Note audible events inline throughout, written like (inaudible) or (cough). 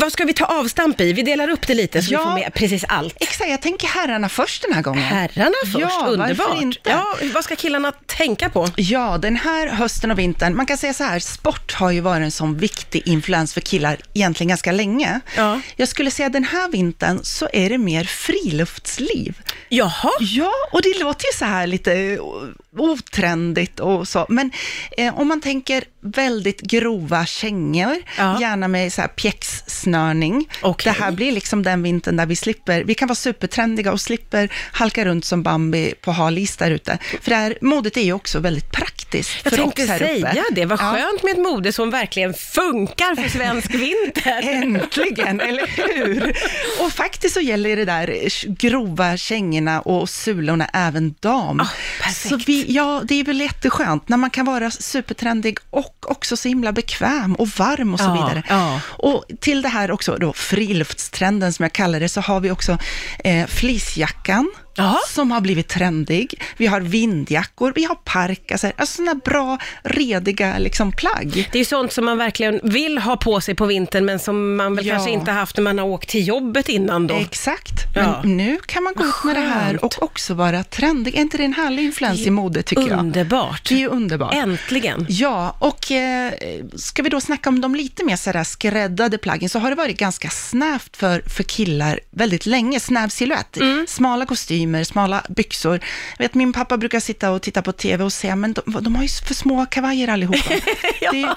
vad ska vi ta avstamp i? Vi delar upp det lite så Ja. vi får med precis allt. Exakt, jag tänker herrarna först den här gången. Herrarna först, Ja, underbart. varför inte? Ja, vad ska killarna tänka på? Ja, den här hösten och vintern, man kan säga så här, sport har ju varit en sån viktig influens för killar egentligen ganska länge. Ja. Jag skulle säga den här vintern så är det mer friluftsliv. Jaha, Ja, och det låter ju så här lite o- otrendigt och så, men eh, om man tänker väldigt grova kängor, Ja. gärna med så här pjäxsnörning. Okej. Det här blir liksom den vintern där vi slipper, vi kan vara supertrendiga och slipper halka runt som Bambi på hal is där ute. För det här modet är ju också väldigt praktiskt jag för tänkte oss här uppe. säga det. Vad Ja. skönt med ett mode som verkligen funkar för svensk vinter. (laughs) Äntligen, eller hur? Och faktiskt så gäller det där sh- grova kängorna och sulorna även dam. Ah, perfekt. så vi, ja, det är väl jätteskönt när man kan vara supertrendig och också så himla bekväm och varm och så Ja, vidare. ja. Och till det här också då friluftstrenden som jag kallar det, så har vi också eh, fleecejackan. Jaha. som har blivit trendig. Vi har vindjackor, vi har parkasar, alltså sådana bra, rediga liksom plagg. Det är ju sånt som man verkligen vill ha på sig på vintern, men som man väl Ja. kanske inte haft när man har åkt till jobbet innan då. Exakt, Ja. men nu kan man gå ut med det här Skönt. och också vara trendig. Är inte det en härlig influens i mode tycker jag? Underbart. Det är ju underbart. Äntligen. Ja, och eh, ska vi då snacka om de lite mer sådär skräddade plaggen, så har det varit ganska snävt för, för killar väldigt länge, snäv silhuett. Mm. Smala kostymer, smala byxor. Jag vet, min pappa brukar sitta och titta på TV och säga, men de, de har ju för små (laughs) kavajer allihopa. det är, ju-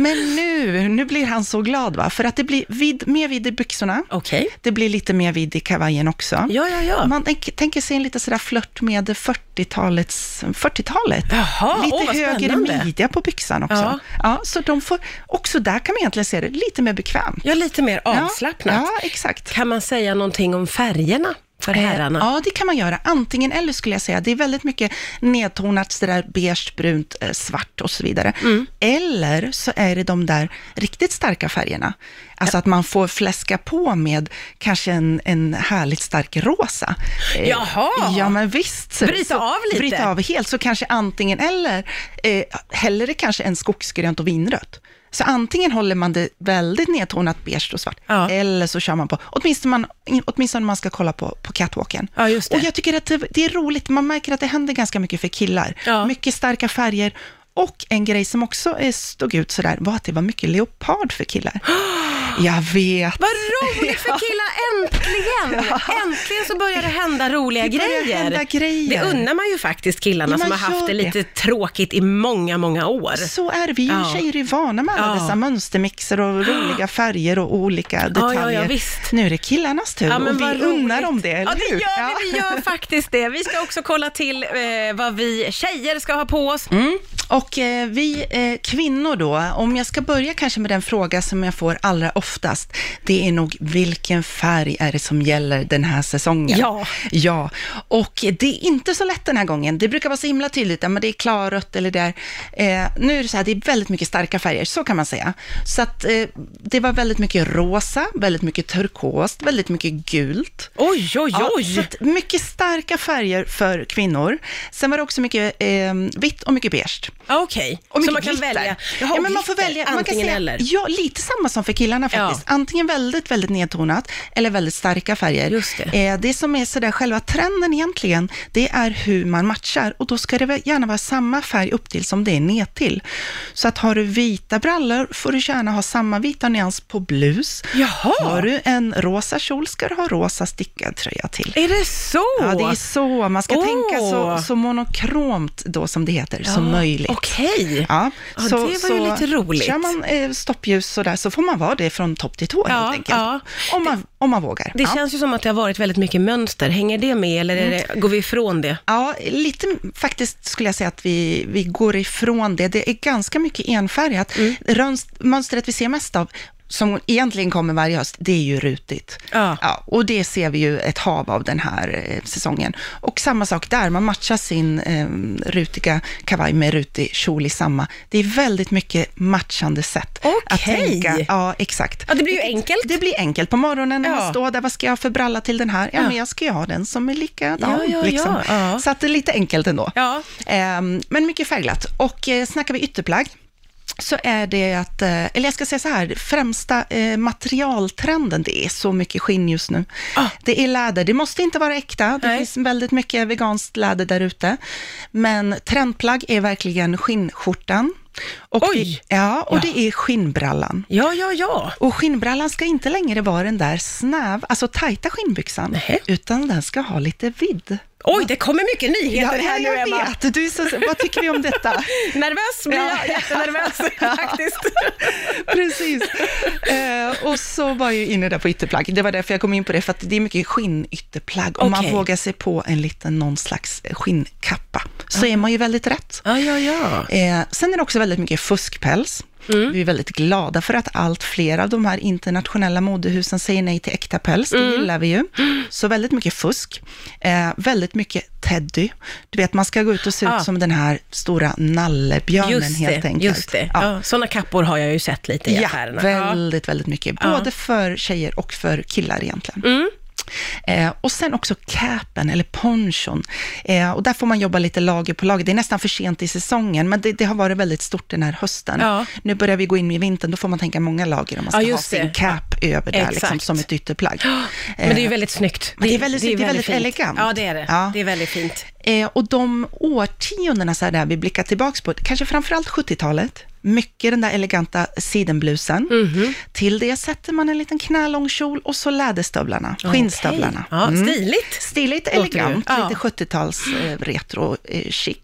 men nu, nu blir han så glad va, för att det blir vid, mer vidd i byxorna. Okej. Det blir lite mer vidd i kavajen också. Ja, ja, ja. Man tänk, tänker sig en lite sådär flört med 40-talets, 40-talet. Jaha, lite åh, vad högre spännande. midja på byxan också. Ja. Ja. så de får, också där kan man egentligen se det lite mer bekvämt. Ja, lite mer Ja, avslappnat. Ja, Eh. exakt. Kan man säga någonting om färgerna för herrarna? Ja, det kan man göra. Antingen eller skulle jag säga. Det är väldigt mycket nedtonat, så där beige, brunt, eh, svart och så vidare. Mm. Eller så är det de där riktigt starka färgerna. Alltså att man får fläska på med kanske en, en härligt stark rosa. Eh, Jaha. Ja, men visst. Bryta av lite. Bryta av helt, så kanske antingen eller. Eh, hellre kanske en skogsgrönt och vinrött. Så antingen håller man det väldigt nedtonat beige och svart, Ja. eller så kör man på, åtminstone man, åtminstone man ska kolla på, på catwalken. Ja, just det. Och jag tycker att det, det är roligt, man märker att det händer ganska mycket för killar. Ja. Mycket starka färger. Och en grej som också eh, stod ut sådär var att det var mycket leopard (gasps) för killar. Jag vet. Vad roligt (laughs) för killar, äntligen! Äntligen så börjar det hända roliga Det börjar grejer. hända grejer. Det unnar man ju faktiskt killarna Ja, som har man haft gör det lite det. tråkigt i många, många år. Så är det. vi Ja. tjejer är vana med alla Ja. dessa mönstermixer och roliga (gasps) färger och olika ja, detaljer. ja, visst. Nu är det killarnas tur och vad vi unnar roligt. dem det, eller Ja, det hur? gör vi. Vi gör faktiskt det. Vi ska också kolla till eh, vad vi tjejer ska ha på oss. Mm. Och eh, vi eh, kvinnor då, om jag ska börja kanske med den fråga som jag får allra oftast, det är nog vilken färg är det som gäller den här säsongen? Ja. Ja, och det är inte så lätt den här gången. Det brukar vara så himla tydligt, ja, men det är klarrött eller där. Eh, nu är det så här, det är väldigt mycket starka färger, så kan man säga. Så att eh, det var väldigt mycket rosa, väldigt mycket turkost, väldigt mycket gult. Oj, oj, Ja, oj! så att mycket starka färger för kvinnor. Sen var det också mycket eh, vitt och mycket beige. Ja, Okej, Och så mycket man kan glitter. välja. Jaha, Ja, men man får glitter. välja. man kan Antingen säga, eller. Ja, lite samma som för killarna faktiskt. Antingen väldigt, väldigt nedtonat eller väldigt starka färger. Just det. Eh, det som är sådär själva trenden egentligen, det är hur man matchar och då ska det väl gärna vara samma färg upp till som det är ned till. Så att har du vita brallor får du gärna ha samma vita nyans på blus. Jaha. Har du en rosa kjol ska du ha rosa stickad tröja till. Är det så? Ja, det är så. Man ska Åh. tänka så, så monokromt då, som det heter, som möjligt. Ah, Okej. Ja, Ja, det var ju lite roligt. Kör man eh, stoppljus sådär så får man vara det från topp till tå Ja, helt enkelt. ja. Om, man, om man vågar. Det ja. Mm. känns ju som att det har varit väldigt mycket mönster. Hänger det med eller är det, går vi ifrån det? Ja, lite faktiskt skulle jag säga att vi, vi går ifrån det. Det är ganska mycket enfärgat. Mm. Rönst, mönstret vi ser mest av, som egentligen kommer varje höst, det är ju rutigt. Ja. och det ser vi ju ett hav av den här eh, säsongen. Och samma sak där, man matchar sin eh, rutiga kavaj med rutig kjol i samma. Det är väldigt mycket matchande sätt att Okej. tänka. Ja, exakt. Ja, det blir ju enkelt. Det blir enkelt på morgonen när Ja. man står där, vad ska jag ha för bralla till den här? Ja, men jag ska ju ha den som är likadan. Ja, ja, liksom. ja, ja. Så att det är lite enkelt ändå. Ja. Ehm, men mycket färgglatt. Och eh, snackar vi ytterplagg, så är det att, eh, eller jag ska säga så här, främsta eh, materialtrenden, det är så mycket skinn just nu. Ah. Det är läder, det måste inte vara äkta, det Nej. finns väldigt mycket veganskt läder där ute. Men trendplagg är verkligen skinnskjortan. Och Oj! Det, ja, och det är skinnbrallan. Ja, ja, ja. Och skinnbrallan ska inte längre vara den där snäv, alltså tajta skinnbyxan, Nähä. utan den ska ha lite vidd. Oj, det kommer mycket nyheter här nu, jag Emma. vet, du är så, vad tycker vi om detta? (laughs) Nervös blir Ja. jag, (laughs) jättenervös faktiskt. Precis. Eh, och så var jag ju inne där på ytterplagg. Det var därför jag kom in på det, för att det är mycket skinnytterplagg. Om Okej. man vågar sig på en liten, någon slags skinnkappa, så är man ju väldigt rätt. Ja, ja, ja. Eh, sen är det också väldigt mycket fuskpäls. Mm. Vi är väldigt glada för att allt fler av de här internationella modehusen säger nej till äkta päls, Mm. det gillar vi ju. Så väldigt mycket fusk, eh, väldigt mycket teddy. Du vet, man ska gå ut och se Ah. ut som den här stora nallebjörnen Just helt det, enkelt. just det. Ja. Ja. sådana kappor har jag ju sett lite i affärerna. väldigt, väldigt mycket. Både för tjejer och för killar egentligen. Mm. Eh, och sen också capen eller ponchon. Eh, och där får man jobba lite lager på lager. Det är nästan för sent i säsongen, men det, det har varit väldigt stort den här hösten. Ja. Nu börjar vi gå in i vintern, då får man tänka många lager om man Ja, ska ha just sin det. cap över där, liksom, Exakt. som ett ytterplagg. (gasps) Men det är ju väldigt snyggt. Men Eh, det är väldigt snyggt, det är väldigt fint. elegant. Ja, det är det. Ja. Det är väldigt fint. Eh, och de årtiondena så här där vi blickar tillbaka på, kanske framförallt 70-talet, mycket den där eleganta sidenblusen. Mhm. Till det sätter man en liten knälång kjol och så läderstövlarna, skinnstövlarna. Okej. Ja, Mm. stiligt. Stiligt, Låter det. elegant, Ja. lite 70-tals eh, retro eh, chic.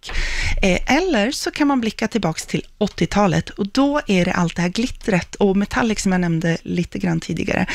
Eh, eller så kan man blicka tillbaka till 80-talet och då är det allt det här glittret och metallic som jag nämnde lite grann tidigare.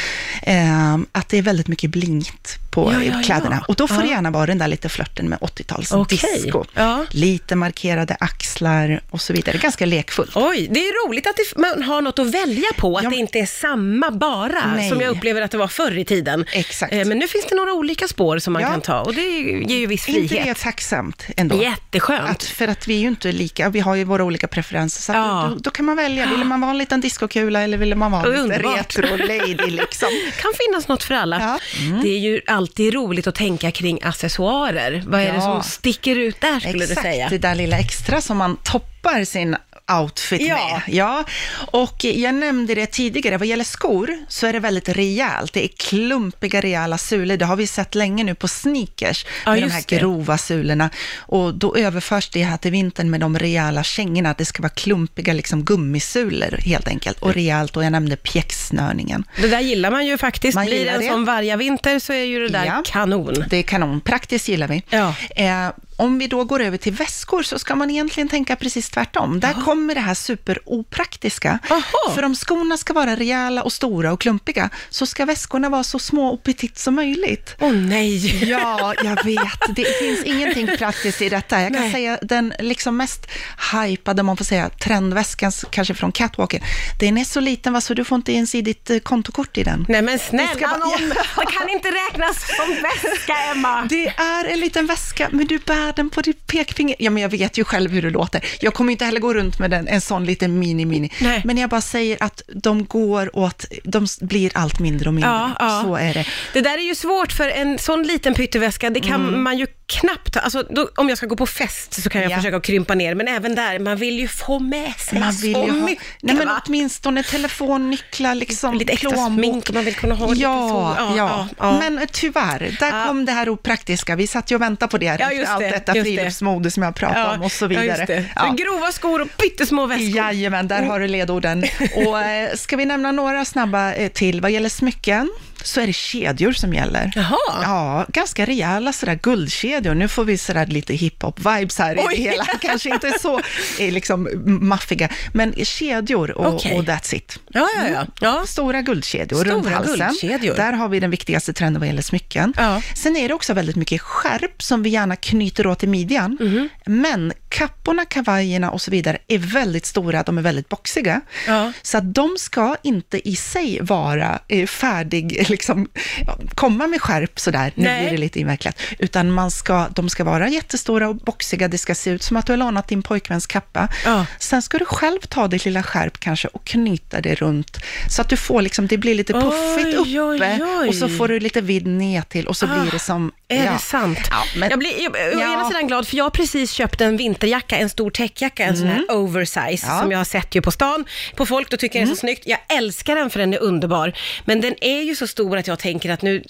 Eh, att det är väldigt mycket blingt på Ja, eh, ja, ja. kläderna. Och då får Ja. det gärna vara den där lite flörten med 80-tals Okej. disco. Ja. Lite markerade axlar och så vidare. Ganska lekfullt. Oj, det är roligt att det, man har något att välja på, att Ja. det inte är samma bara, Nej. som jag upplever att det var förr i tiden. Exakt. Eh, Men nu finns det några olika spår som man Ja. kan ta och det ger ju viss Inte frihet. det tacksamt ändå? Jätteskönt. Att, för att vi är ju inte lika, vi har ju våra olika preferenser, så att Ja. då, då kan man välja, ville man vara en liten discokula eller ville man vara en liten Underbart. retro-lady liksom? (laughs) kan finnas något för alla. Mm. Ja. Det är ju alltid roligt att tänka kring accessoarer. Vad är det Ja. som sticker ut där, skulle du säga? Exakt, det där lilla extra som man toppar sin outfit Ja. med. Ja, och jag nämnde det tidigare, vad gäller skor så är det väldigt rejält. Det är klumpiga, rejäla sulor. Det har vi sett länge nu på sneakers, Ja, med de just här det. grova sulorna. Och då överförs det här till vintern med de rejäla kängorna. Det ska vara klumpiga liksom gummisulor helt enkelt, och rejält. Och jag nämnde pjäxsnörningen. Det där gillar man ju faktiskt. Man Blir det gillar en det. sån vargavinter så är ju det där Ja. kanon. Det är kanon. Praktiskt gillar vi. Ja. Eh, om vi då går över till väskor så ska man egentligen tänka precis tvärtom. Där kommer det här superopraktiska. Aha. För om skorna ska vara rejäla och stora och klumpiga så ska väskorna vara så små och petit (laughs) som möjligt. Åh nej! (laughs) Ja, jag vet. Det finns ingenting praktiskt i detta. Jag kan Nej. säga den liksom mest hypade, om man får säga, trendväskan, kanske från catwalken. Den är så liten va, så du får inte ens i ditt eh, kontokort i den. Nej men Det snälla ska vara- (laughs) någon, det kan inte räknas som väska Emma. Det är en liten väska, men du bär den på ditt pekfinger. Ja, men jag vet ju själv hur det låter. Jag kommer ju inte heller gå runt med den, en sån liten mini-mini. Nej. Men jag bara säger att de går åt, de s- blir allt mindre och mindre. Ja, ja. Så är det. Det där är ju svårt för en sån liten pytteväska, det kan man ju knappt, alltså då, om jag ska gå på fest så kan jag Mm. Ja. försöka att krympa ner, men även där, man vill ju få med sig Man vill så ju ha, mycket. nej men va? åtminstone telefon, nycklar, liksom Lite extra plånbok. smink, man vill kunna ha lite ja, så. Ja, ja, ja, ja. men eh, tyvärr, där Ja. kom det här opraktiska. Vi satt ju och väntade på det, Ja, här, just allt det, detta just det. friluftsmode som jag pratade om och så vidare. Ja, just det. Ja. Så grova skor och pyttesmå väskor. Jajamän, där har du ledorden. Och, eh, ska vi nämna några snabba eh, till? Vad gäller smycken så är det kedjor som gäller. Jaha. Ja, ganska rejäla sådär guldkedjor. Nu får vi sådär lite hiphop-vibes här Oj. i det hela. Kanske inte så eh, liksom maffiga, men kedjor och, Okej. och that's it. Ja, ja, ja. ja. Stora guldkedjor Stora runt halsen. guldkedjor. Där har vi den viktigaste trenden vad gäller smycken. Ja. Sen är det också väldigt mycket skärp som vi gärna knyter åt i midjan. Mhm. Men kapporna, kavajerna och så vidare är väldigt stora, de är väldigt boxiga. Ja. Så att de ska inte i sig vara eh, färdig, (laughs) liksom ja, komma med skärp sådär, nu Nej. blir det lite invecklat. Utan man ska, de ska vara jättestora och boxiga, det ska se ut som att du har lånat din pojkväns kappa. Ja. Sen ska du själv ta ditt lilla skärp kanske och knyta det runt, så att du får liksom, det blir lite puffigt Oj, oj, uppe oj. Ah, och så får du lite vidd ner till och så blir det som... Är ja. det sant? Ja, men, jag blir jag, å Ja. ena sidan glad, för jag har precis köpt en vinterjacka, en stor täckjacka, en sån här oversize, Mm. Ja. Mm. som jag har sett ju på stan, på folk, då tycker jag det är så snyggt. Jag älskar den för den är underbar, men den är ju så stor att jag tänker att nu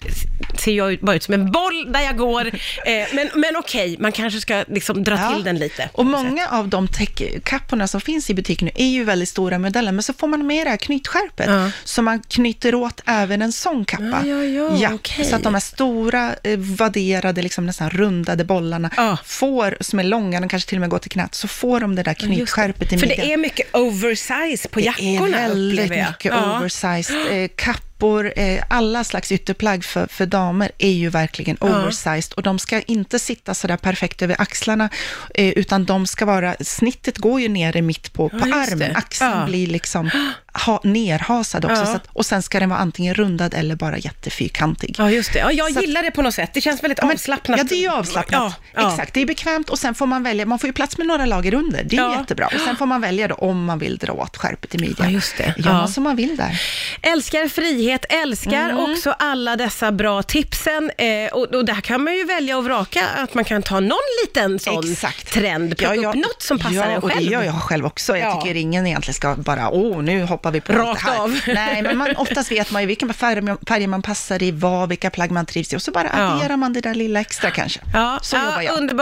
ser jag ju bara ut som en boll där jag går. (laughs) Eh, men men okej, man kanske ska liksom dra Ja. till den lite. Och många av de täckkapporna som finns i butik nu är ju väldigt stora modeller, men så får man med det här knytskärpet, Ja. så man knyter åt även en sån kappa. Ja, ja, ja, okej. Så att de här stora, eh, vadderade, liksom nästan rundade bollarna, Ja. får, som är långa, de kanske till och med går till knät, så får de det där knytskärpet i För mitten. det är mycket oversize på jackorna, Det är väldigt upplever jag. mycket Ja. oversized eh, kappor, eh, alla slags ytterplagg för, för damer är ju verkligen oversized och de ska inte sitta sådär perfekt över axlarna eh, utan de ska vara, snittet går ju nere mitt på, på Ja, just det. armen, axeln Ja. blir liksom ha, nerhasad också Ja. så att, och sen ska den vara antingen rundad eller bara jättefyrkantig. Ja, just det. Ja, jag Så att- gillar det på något sätt. Det känns väldigt Ja, men- avslappnat. Ja, det är ju avslappnat. Ja, ja. Exakt, det är bekvämt och sen får man välja, man får ju plats med några lager under, det är Ja. jättebra. Och sen får man välja då om man vill dra åt skärpet i midjan. Ja, just det. Gör Ja. man som man vill där. Älskar frihet, älskar Mm. också alla dessa bra tipsen. Eh, och, och där kan man ju välja och vraka, att man kan ta någon liten sån trend, plocka upp något som passar ja, en och det själv. gör jag själv också. Jag Ja. tycker ingen egentligen ska bara, åh, nu hoppar vi på Rakt det här. av. (laughs) Nej, men man, oftast vet man ju vilka färger man, färger man passar i, vad, vilka plagg man trivs i och så bara Ja. adderar man det där lilla extra kanske. Ja, så ja, jobbar jag. Underbart.